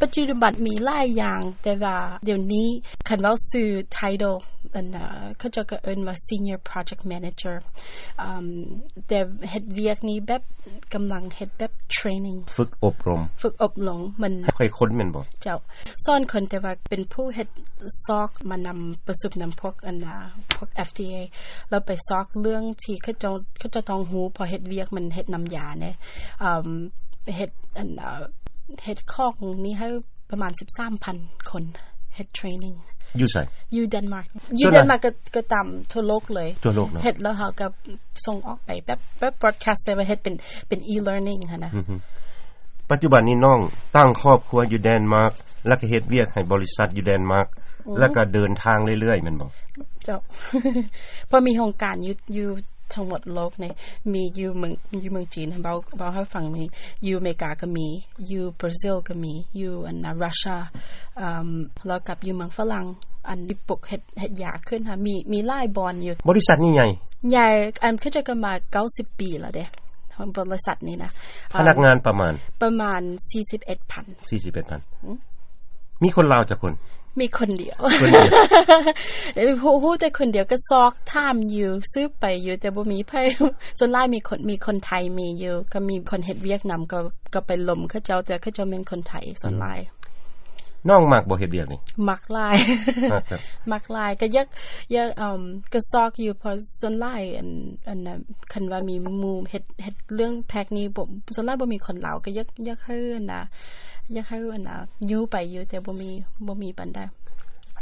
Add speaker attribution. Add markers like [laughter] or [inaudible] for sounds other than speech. Speaker 1: ปัจจุบันมีหลายอย่าง แต่ว่าเดี๋ยวนี้คันเว่าซื้อ title อันน่ะเขาจะก็เอิ้นว่า senior project manager อืมแต่เฮ็ดเวียกนี้แบบกำลังเฮ็ดแบบ training
Speaker 2: ฝึกอบรม
Speaker 1: ฝึกอบรมมัน
Speaker 2: ให้ค่อยค้นแม่นบ่
Speaker 1: เจ้าซ่อนคนแต่ว่าเป็นผู้เฮ็ดซอกมานำประสบนำพวกอันนาพวก FDA แล้วไปซอกเรื่องที่เขาเจะเขาเจะต้องหูพอเฮ็ดเวียกมันเฮ็ดนำยาเนี่ยอืมเฮ็ดอันน่ะเฮ็ดคอกนี้ให้ประมาณ 13,000 คนเฮ็ดเทรนนิ่ง
Speaker 2: อยู่ไส
Speaker 1: อยู่เดนมาร์กอ
Speaker 2: ส่
Speaker 1: ยู่
Speaker 2: วน
Speaker 1: เด
Speaker 2: น่ะ
Speaker 1: นมาร์กก็ก็ตามทั่วโลกเลย
Speaker 2: ทั่วโลกเนอะ
Speaker 1: เฮ็ดแล้วเฮาก็ส่งออกไปแบบแบบพอดแคสต์แต่ว่าเฮ็ดเป็นเป็น e-learning หั่นนะ
Speaker 2: ปัจจุบันนี้น้องตั้งครอบครัวอยู่แดนมาร์กแล้วก็เฮ็ดเวียกให้บริษัทอยู่แดนมาร์กแล้วก็เดินทางเรื่อยๆแม่นบ่
Speaker 1: เจ้า [laughs] เพราะมีโครงการอยู่อยู่ทั้งหมดโลกในมีอยู่เมืองอยู่เมืองจีนเบาเบาให้ฟังมีอยู่อเมริกาก็มีอยู่บราซิลก็มีอยู่อันนะรัสเซียอืมแล้วกับอยู่เมืองฝรั่งอันญี่ปุ่นเฮ็ดเฮ็ดยาขึ้นค่ะมีมีหลายบอนอยู่
Speaker 2: บริษัทนี่ใหญ่
Speaker 1: ใหญ่อันคือจะกันมา 90 ปีแล้วเด้ของบริษัทนี้นะ
Speaker 2: พนักงานประมาณ
Speaker 1: ประมาณ 41,000
Speaker 2: 41,000มีคนลาวจักคน
Speaker 1: มีคนเดียว
Speaker 2: คนเดียว
Speaker 1: [laughs] เดี๋ยวพูพูดแต่คนเดียวก็ซอกถามอยู่ซื้อไปอยู่แต่บ่มี [laughs] ไผ ส่วนหลายมีคนมีคนไทยมีอยู่ ก็มีคนเฮ็ดเวียดนามก็ก็ไปลมเขาเจ้าแต่เขาเจ้าเป็นคนไทยส่วนหลาย
Speaker 2: น้องมักบ่เฮ็ดเวียกนี่
Speaker 1: มักหลาย
Speaker 2: มักครับ
Speaker 1: [laughs] มักหลายก็ยักยักเอ่มก็ซอกอยู่เพอส่วนหลายอันอันน่ะคันว่ามีหมู่เฮ็ดเฮ็ดเรื่องแพ็กนี้บ่ส่วนหลายบ่มีคนลาวก็ยักยักให้อันน่ะยักให้อันน่ะอยู่ไปอยู่แต่บ่มีบ่มีปานใด